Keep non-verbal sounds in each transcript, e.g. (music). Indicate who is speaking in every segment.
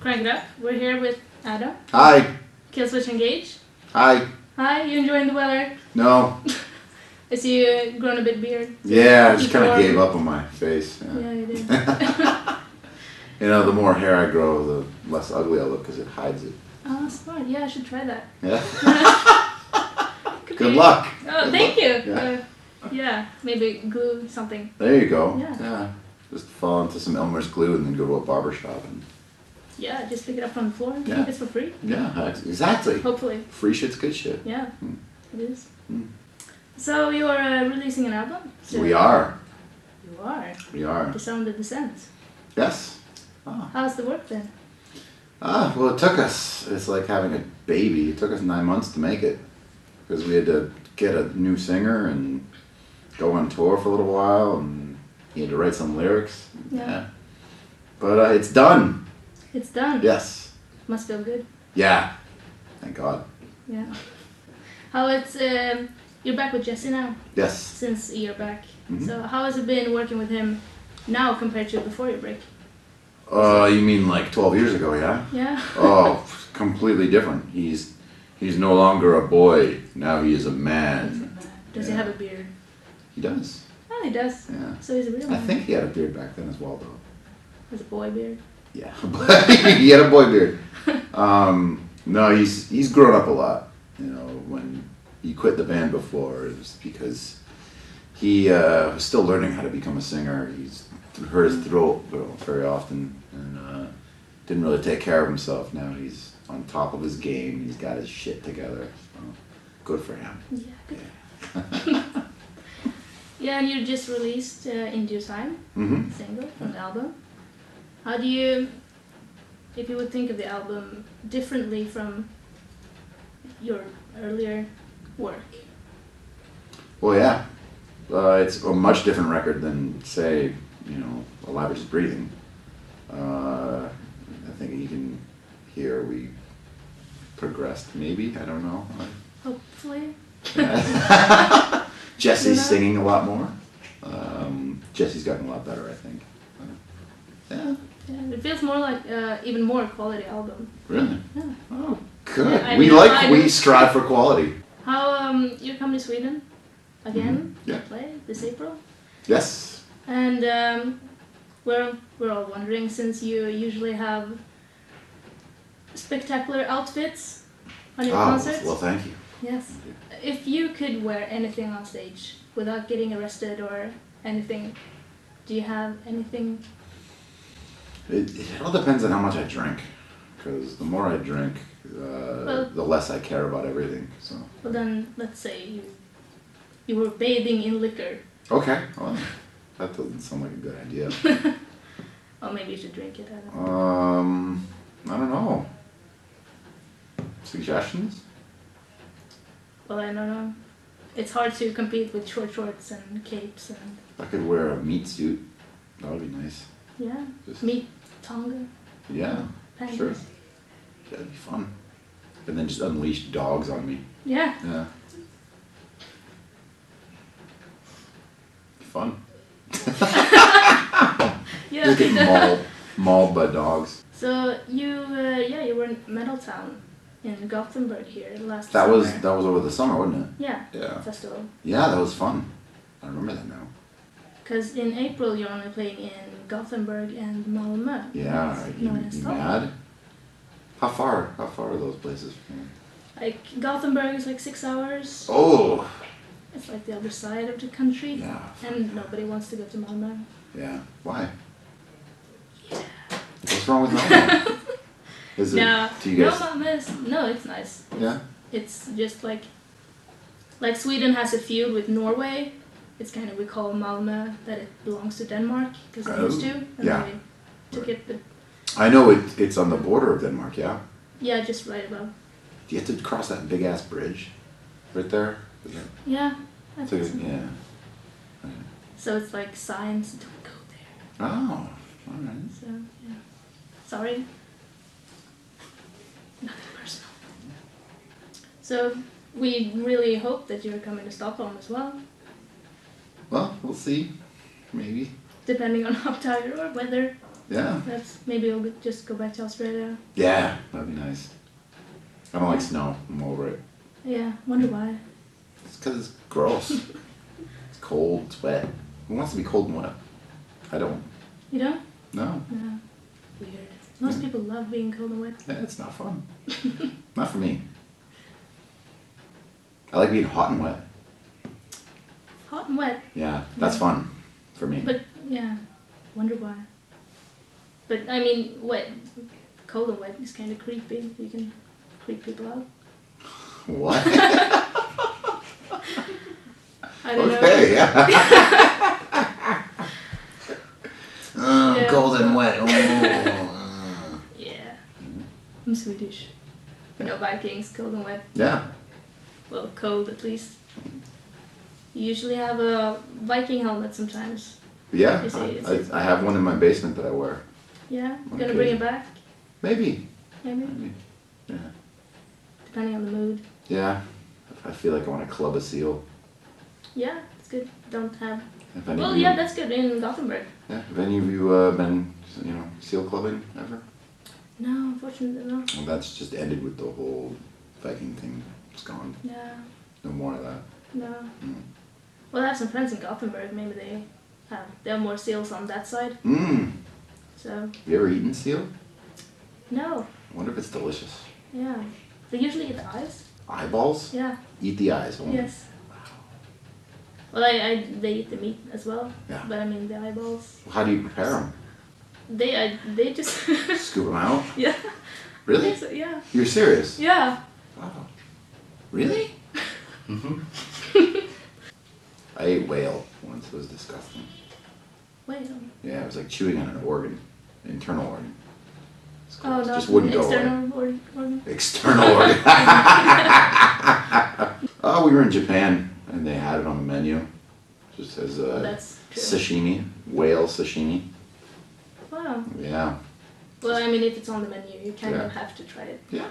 Speaker 1: Cranked Up. We're here with Adam.
Speaker 2: Hi.
Speaker 1: Killswitch Engage.
Speaker 2: Hi.
Speaker 1: Hi, you enjoying the weather?
Speaker 2: No.
Speaker 1: I see you grown a bit beard.
Speaker 2: Yeah, I just
Speaker 1: You
Speaker 2: kind of
Speaker 1: are-
Speaker 2: gave up on my face. yeah.
Speaker 1: Yeah, you
Speaker 2: (laughs)
Speaker 1: do.
Speaker 2: You know, the more hair I grow, the less ugly I look because it hides it.
Speaker 1: Oh, smart. Yeah, I should try that.
Speaker 2: Yeah.
Speaker 1: Could
Speaker 2: Good
Speaker 1: be.
Speaker 2: luck.
Speaker 1: Oh,
Speaker 2: Good
Speaker 1: thank you.
Speaker 2: Yeah.
Speaker 1: Uh, yeah, maybe glue something.
Speaker 2: There you go.
Speaker 1: Yeah.
Speaker 2: Just fall into some Elmer's glue and then go to a barber shop and
Speaker 1: Yeah, just pick it up on the floor. I
Speaker 2: Yeah.
Speaker 1: think it's for free.
Speaker 2: yeah, ex- exactly.
Speaker 1: Hopefully.
Speaker 2: Free shit's good shit.
Speaker 1: Yeah, it is.
Speaker 2: Hmm.
Speaker 1: So you are uh, releasing an album? soon?
Speaker 2: We are.
Speaker 1: You are.
Speaker 2: We are.
Speaker 1: The Sound of Descent.
Speaker 2: Yes. Ah.
Speaker 1: How's the work then?
Speaker 2: ah. Well, it took us. It's like having a baby. It took us nine months to make it because we had to get a new singer and go on tour for a little while and he had to write some lyrics.
Speaker 1: Yeah.
Speaker 2: But uh, it's done.
Speaker 1: It's done.
Speaker 2: Yes.
Speaker 1: Must feel good.
Speaker 2: Yeah. Thank God.
Speaker 1: Yeah. How it's um, you're back with Jesse now
Speaker 2: Yes.
Speaker 1: since a year back.
Speaker 2: Mhm.
Speaker 1: So how has it been working with him now compared to before your break?
Speaker 2: Uh, you mean like 12 years ago, yeah?
Speaker 1: Yeah.
Speaker 2: oh, completely different. He's he's no longer a boy. Now he is a man.
Speaker 1: (laughs) Does he
Speaker 2: Yeah.
Speaker 1: have a beard?
Speaker 2: He does.
Speaker 1: Oh, he does.
Speaker 2: Yeah.
Speaker 1: So he's a real
Speaker 2: I
Speaker 1: man.
Speaker 2: think he had a beard back then as well, though.
Speaker 1: Has a boy beard.
Speaker 2: Yeah, (laughs) but he had a boy beard. Um, no, he's he's grown up a lot. You know, when he quit the band before, it was because he uh, was still learning how to become a singer. He's hurt his throat very often and uh, didn't really take care of himself. Now he's on top of his game. He's got his shit together. So good for him.
Speaker 1: Yeah. Good. (laughs) yeah, and you just released uh, in due time
Speaker 2: hmm
Speaker 1: single from the album. How do you, if you would think of the album differently from your earlier work?
Speaker 2: Well, yeah, uh, it's a much different record than, say, you know, Elaborate's Breathing. Uh, I think you can hear we progressed, maybe. I
Speaker 1: (laughs)
Speaker 2: don't know. (laughs)
Speaker 1: Hopefully.
Speaker 2: Jesse's
Speaker 1: Yeah.
Speaker 2: singing a lot more. Um, Jesse's gotten a lot better, I think. Uh, yeah,
Speaker 1: Yeah, it feels more like uh, even more quality album.
Speaker 2: really.
Speaker 1: Yeah.
Speaker 2: Oh, good.
Speaker 1: Yeah, I
Speaker 2: we
Speaker 1: mean,
Speaker 2: like
Speaker 1: I
Speaker 2: we
Speaker 1: don't-
Speaker 2: strive for quality.
Speaker 1: How um you come to Sweden again?
Speaker 2: Mhm, yeah.
Speaker 1: to Play this April,
Speaker 2: Yes.
Speaker 1: and um, we're we're all wondering since you usually have spectacular outfits on your
Speaker 2: Ah,
Speaker 1: concerts.
Speaker 2: well, thank you.
Speaker 1: yes. If you could wear anything on stage without getting arrested or anything, do you have anything?
Speaker 2: It, it all depends on how much I drink, because the more I drink, uh,
Speaker 1: Well-
Speaker 2: the less I care about everything. So
Speaker 1: Well, then let's say you you were bathing in liquor,
Speaker 2: okay, well, that doesn't sound like a good idea.
Speaker 1: or maybe you should drink it. I don't know.
Speaker 2: um, I don't know. Suggestions?
Speaker 1: Well, I don't know. It's hard to compete with short shorts and capes and
Speaker 2: I could wear a meat suit. That would be nice.
Speaker 1: yeah,
Speaker 2: Just-
Speaker 1: meat tonga.
Speaker 2: Yeah,
Speaker 1: panties.
Speaker 2: Sure. that'd be fun. And then just unleash dogs on me.
Speaker 1: Yeah,
Speaker 2: Yeah. Fun.
Speaker 1: yeah.
Speaker 2: Just get mauled, mauled by dogs.
Speaker 1: (laughs) so you, uh, yeah, you were in Metal Town in Gothenburg here last.
Speaker 2: That was
Speaker 1: summer.
Speaker 2: that was over the summer, wasn't it?
Speaker 1: yeah
Speaker 2: Yeah.
Speaker 1: festival.
Speaker 2: Yeah, that was fun. I remember that now.
Speaker 1: Because in April you're only playing in Gothenburg and Malmö.
Speaker 2: Yeah,
Speaker 1: That's
Speaker 2: you,
Speaker 1: known as
Speaker 2: you
Speaker 1: Stockholm.
Speaker 2: mad? How far? How far are those places from? here?
Speaker 1: Like Gothenburg is like six hours.
Speaker 2: Oh,
Speaker 1: It's like the other side of the country.
Speaker 2: yeah,
Speaker 1: And nobody wants to go to Malmö.
Speaker 2: yeah. Why? What's wrong with
Speaker 1: (laughs)
Speaker 2: Melbourne? Is it?
Speaker 1: no,
Speaker 2: Do you
Speaker 1: (laughs)
Speaker 2: guys?
Speaker 1: no, Malmö is, no, it's nice.
Speaker 2: Yeah.
Speaker 1: It's just like like Sweden has a feud with Norway. It's kind of we call Malmö that it belongs to Denmark because it used
Speaker 2: Oh,
Speaker 1: to, and
Speaker 2: yeah.
Speaker 1: then we took it. But
Speaker 2: I know it, it's on the border of Denmark. Yeah.
Speaker 1: yeah, just right above.
Speaker 2: Do you have to cross that big ass bridge, right there? Is that-
Speaker 1: Yeah, I
Speaker 2: So,
Speaker 1: think so.
Speaker 2: yeah.
Speaker 1: So it's like signs don't go there.
Speaker 2: Oh, all right.
Speaker 1: So yeah, sorry. Nothing personal. So we really hope that you're coming to Stockholm as well,
Speaker 2: Well, we'll see. Maybe.
Speaker 1: (laughs) depending on how tired or weather
Speaker 2: Yeah.
Speaker 1: That's maybe we'll just go back to Australia.
Speaker 2: Yeah, that'd be nice. I don't like snow. I'm over it.
Speaker 1: Yeah, wonder why.
Speaker 2: It's because it's
Speaker 1: (laughs)
Speaker 2: gross. it's cold, it's wet. Who wants to be cold and wet? I don't.
Speaker 1: You know?
Speaker 2: No,
Speaker 1: No. Weird. Most people love being cold and wet.
Speaker 2: yeah, it's not
Speaker 1: (laughs)
Speaker 2: fun. not for me. I like being hot and wet.
Speaker 1: Hot and wet,
Speaker 2: Yeah, that's fun for me.
Speaker 1: but yeah, wonder why. But I mean, wet, cold and wet is kind of creepy. You can creep people out.
Speaker 2: (laughs)
Speaker 1: (laughs)
Speaker 2: what?
Speaker 1: I don't
Speaker 2: okay, yeah. (laughs) Oh,
Speaker 1: Yeah.
Speaker 2: Cold and wet. Oh.
Speaker 1: (laughs) know. (laughs) Yeah. I'm Swedish. We're not Vikings, cold and wet.
Speaker 2: yeah.
Speaker 1: Well, cold at least. You usually have a Viking helmet sometimes.
Speaker 2: Yeah.
Speaker 1: Is it-
Speaker 2: I,
Speaker 1: is
Speaker 2: I, I have one in my basement that I wear.
Speaker 1: Yeah? Gonna
Speaker 2: Okay.
Speaker 1: bring it back?
Speaker 2: Maybe.
Speaker 1: Maybe?
Speaker 2: Yeah.
Speaker 1: Depending on the mood.
Speaker 2: Yeah. I feel like I want to club a seal.
Speaker 1: Yeah, it's good. Don't have.
Speaker 2: If any
Speaker 1: Well,
Speaker 2: of you,
Speaker 1: yeah, that's good in Gothenburg.
Speaker 2: yeah, Have any of you uh, been, you know, seal clubbing ever?
Speaker 1: No, unfortunately, no.
Speaker 2: Well, that's just ended with the whole Viking thing. It's gone.
Speaker 1: Yeah,
Speaker 2: No more of that.
Speaker 1: no.
Speaker 2: Mm.
Speaker 1: Well, I have some friends in Gothenburg. Maybe they have. There are more seals on that side.
Speaker 2: Mmm.
Speaker 1: So
Speaker 2: Have you ever eaten seal?
Speaker 1: no.
Speaker 2: I wonder if it's delicious.
Speaker 1: Yeah. They usually eat the eyes.
Speaker 2: Eyeballs?
Speaker 1: Yeah.
Speaker 2: Eat the eyes only.
Speaker 1: Yes. Well, I, I they eat the meat as well.
Speaker 2: Yeah.
Speaker 1: But I mean the eyeballs.
Speaker 2: How do you prepare them?
Speaker 1: They I, they just. (laughs)
Speaker 2: Scoop them out?
Speaker 1: yeah.
Speaker 2: Really?
Speaker 1: Yes, Yeah.
Speaker 2: You're serious?
Speaker 1: Yeah.
Speaker 2: Wow. Really? mm-hmm. (laughs) I ate whale once. It was disgusting.
Speaker 1: Wait. um,
Speaker 2: Yeah, it was like chewing on an organ, internal organ. It's
Speaker 1: Oh
Speaker 2: gross.
Speaker 1: no.
Speaker 2: Just wouldn't go away.
Speaker 1: external organ. organ.
Speaker 2: External (laughs) organ. oh, we were in Japan and they had it on the menu, just as
Speaker 1: Well,
Speaker 2: a
Speaker 1: that's true.
Speaker 2: sashimi, whale sashimi.
Speaker 1: Wow.
Speaker 2: Yeah,
Speaker 1: Well, I mean, if it's on the menu, you kind
Speaker 2: Yeah.
Speaker 1: of have to try it.
Speaker 2: yeah.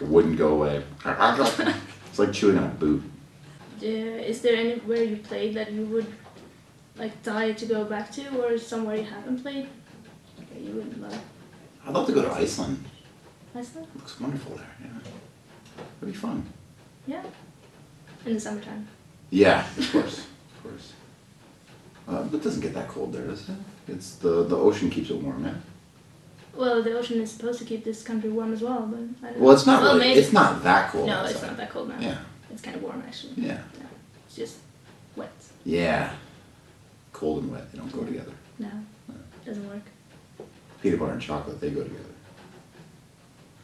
Speaker 2: It wouldn't go
Speaker 1: (laughs)
Speaker 2: away. it's like chewing on a boot.
Speaker 1: Uh, is there anywhere you played that you would like die to go back to, or somewhere you haven't played that you would love?
Speaker 2: I'd love to go to Iceland.
Speaker 1: Iceland?
Speaker 2: It looks wonderful there. Yeah, it'd be fun.
Speaker 1: Yeah. In the summertime.
Speaker 2: Yeah, of course, of course. Uh, but it doesn't get that cold there, does it? It's the the ocean keeps it warm, yeah.
Speaker 1: Well, the ocean is supposed to keep this country warm as well, but I don't
Speaker 2: Well, it's not
Speaker 1: Well,
Speaker 2: really.
Speaker 1: maybe.
Speaker 2: It's not that cold.
Speaker 1: no,
Speaker 2: outside.
Speaker 1: it's not that cold now.
Speaker 2: Yeah,
Speaker 1: It's kind of warm actually.
Speaker 2: yeah,
Speaker 1: It's just wet.
Speaker 2: yeah. Cold and wet, they don't go together.
Speaker 1: No, doesn't work.
Speaker 2: Peanut butter and chocolate, they go together.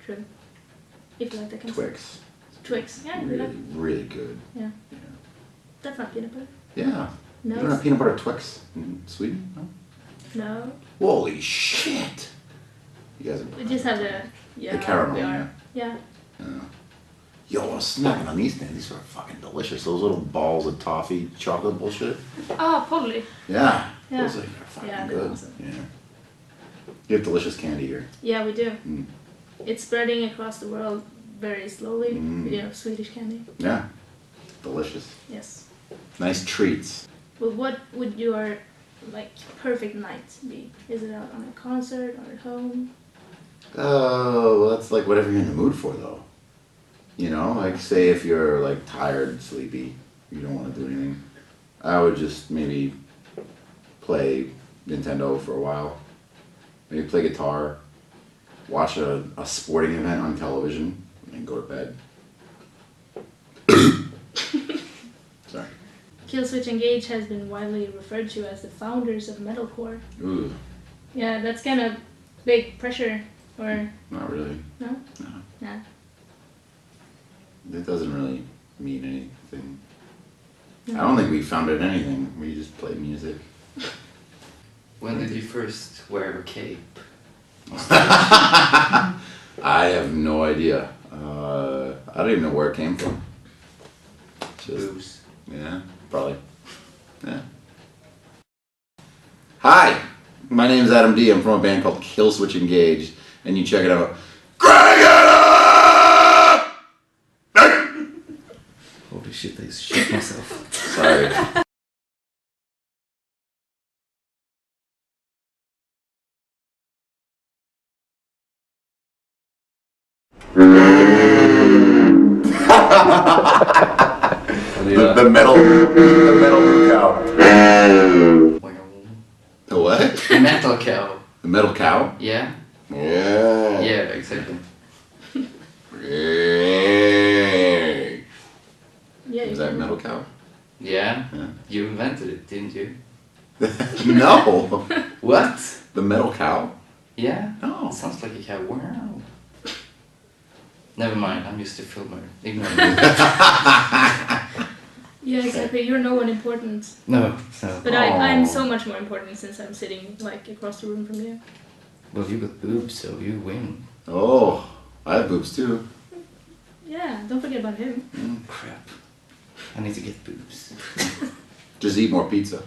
Speaker 1: True. If you like that kind of stuff.
Speaker 2: Twix,
Speaker 1: Twix. Yeah, we
Speaker 2: really,
Speaker 1: like-
Speaker 2: really good.
Speaker 1: Yeah.
Speaker 2: Yeah.
Speaker 1: That's not peanut butter.
Speaker 2: Yeah.
Speaker 1: No,
Speaker 2: You don't have
Speaker 1: it's-
Speaker 2: peanut butter Twix in Sweden? No.
Speaker 1: no.
Speaker 2: Holy shit! You guys. Are
Speaker 1: We just have the yeah.
Speaker 2: caramel,
Speaker 1: we are.
Speaker 2: yeah.
Speaker 1: Yeah.
Speaker 2: Yeah. Yo, I was snacking on these things. These are fucking delicious. Those little balls of toffee chocolate bullshit.
Speaker 1: Ah, Polly.
Speaker 2: Yeah.
Speaker 1: Yeah.
Speaker 2: Those are fucking
Speaker 1: Yeah, they're
Speaker 2: good.
Speaker 1: awesome.
Speaker 2: Yeah. You have delicious candy here.
Speaker 1: Yeah, we do.
Speaker 2: Mm.
Speaker 1: It's spreading across the world very slowly.
Speaker 2: Mm.
Speaker 1: You know, Swedish candy.
Speaker 2: Yeah. Delicious.
Speaker 1: Yes.
Speaker 2: Nice treats.
Speaker 1: But what would your like perfect night be? Is it out on a concert or at home?
Speaker 2: Oh, well, that's like whatever you're in the mood for, though. You know, like say if you're like tired, sleepy, you don't want to do anything. I would just maybe play Nintendo for a while. Maybe play guitar, watch a, a sporting event on television, and go to bed. (coughs) Sorry.
Speaker 1: Killswitch Engage has been widely referred to as the founders of metalcore.
Speaker 2: Ooh,
Speaker 1: Yeah, that's kind of big pressure. Or
Speaker 2: not really.
Speaker 1: no?
Speaker 2: No.
Speaker 1: Nah.
Speaker 2: It doesn't really mean anything.
Speaker 1: No.
Speaker 2: I don't think we founded anything. We just
Speaker 1: (laughs)
Speaker 2: played music.
Speaker 3: When did you first wear a cape?
Speaker 2: I have no idea. Uh, I don't even know where it came from. Just,
Speaker 3: Boobs.
Speaker 2: yeah, probably. Yeah. Hi, my name is Adam D. I'm from a band called Killswitch Engage, and you check it out. Greg it up!
Speaker 4: Holy shit, I shit myself.
Speaker 3: (laughs)
Speaker 2: Sorry. The,
Speaker 5: Yeah.
Speaker 2: the metal, the metal cow.
Speaker 3: Werewolf.
Speaker 2: The what?
Speaker 3: Metal cow.
Speaker 2: The metal cow.
Speaker 3: Yeah?
Speaker 2: Yeah.
Speaker 3: Yeah, exactly.
Speaker 1: Yeah, you
Speaker 2: Is that
Speaker 1: can-
Speaker 2: metal cow?
Speaker 3: Yeah?
Speaker 2: Yeah.
Speaker 3: You invented it, didn't you?
Speaker 2: no,
Speaker 3: What?
Speaker 2: the metal cow.
Speaker 3: Yeah?
Speaker 2: No.
Speaker 3: Sounds like a cow. Wow. Never mind, I'm used to filmer. Ignore
Speaker 2: (laughs)
Speaker 3: me.
Speaker 1: Yeah, exactly. You're no one important,
Speaker 4: No, no.
Speaker 1: but I,
Speaker 2: Aw.
Speaker 1: I'm so much more important since I'm sitting like across the room from you.
Speaker 3: Well, you got boobs, so you win.
Speaker 2: Oh, I have boobs too.
Speaker 1: Yeah, don't forget about him.
Speaker 3: Mm, Crap.
Speaker 4: I need to get boobs.
Speaker 2: Just eat more pizza.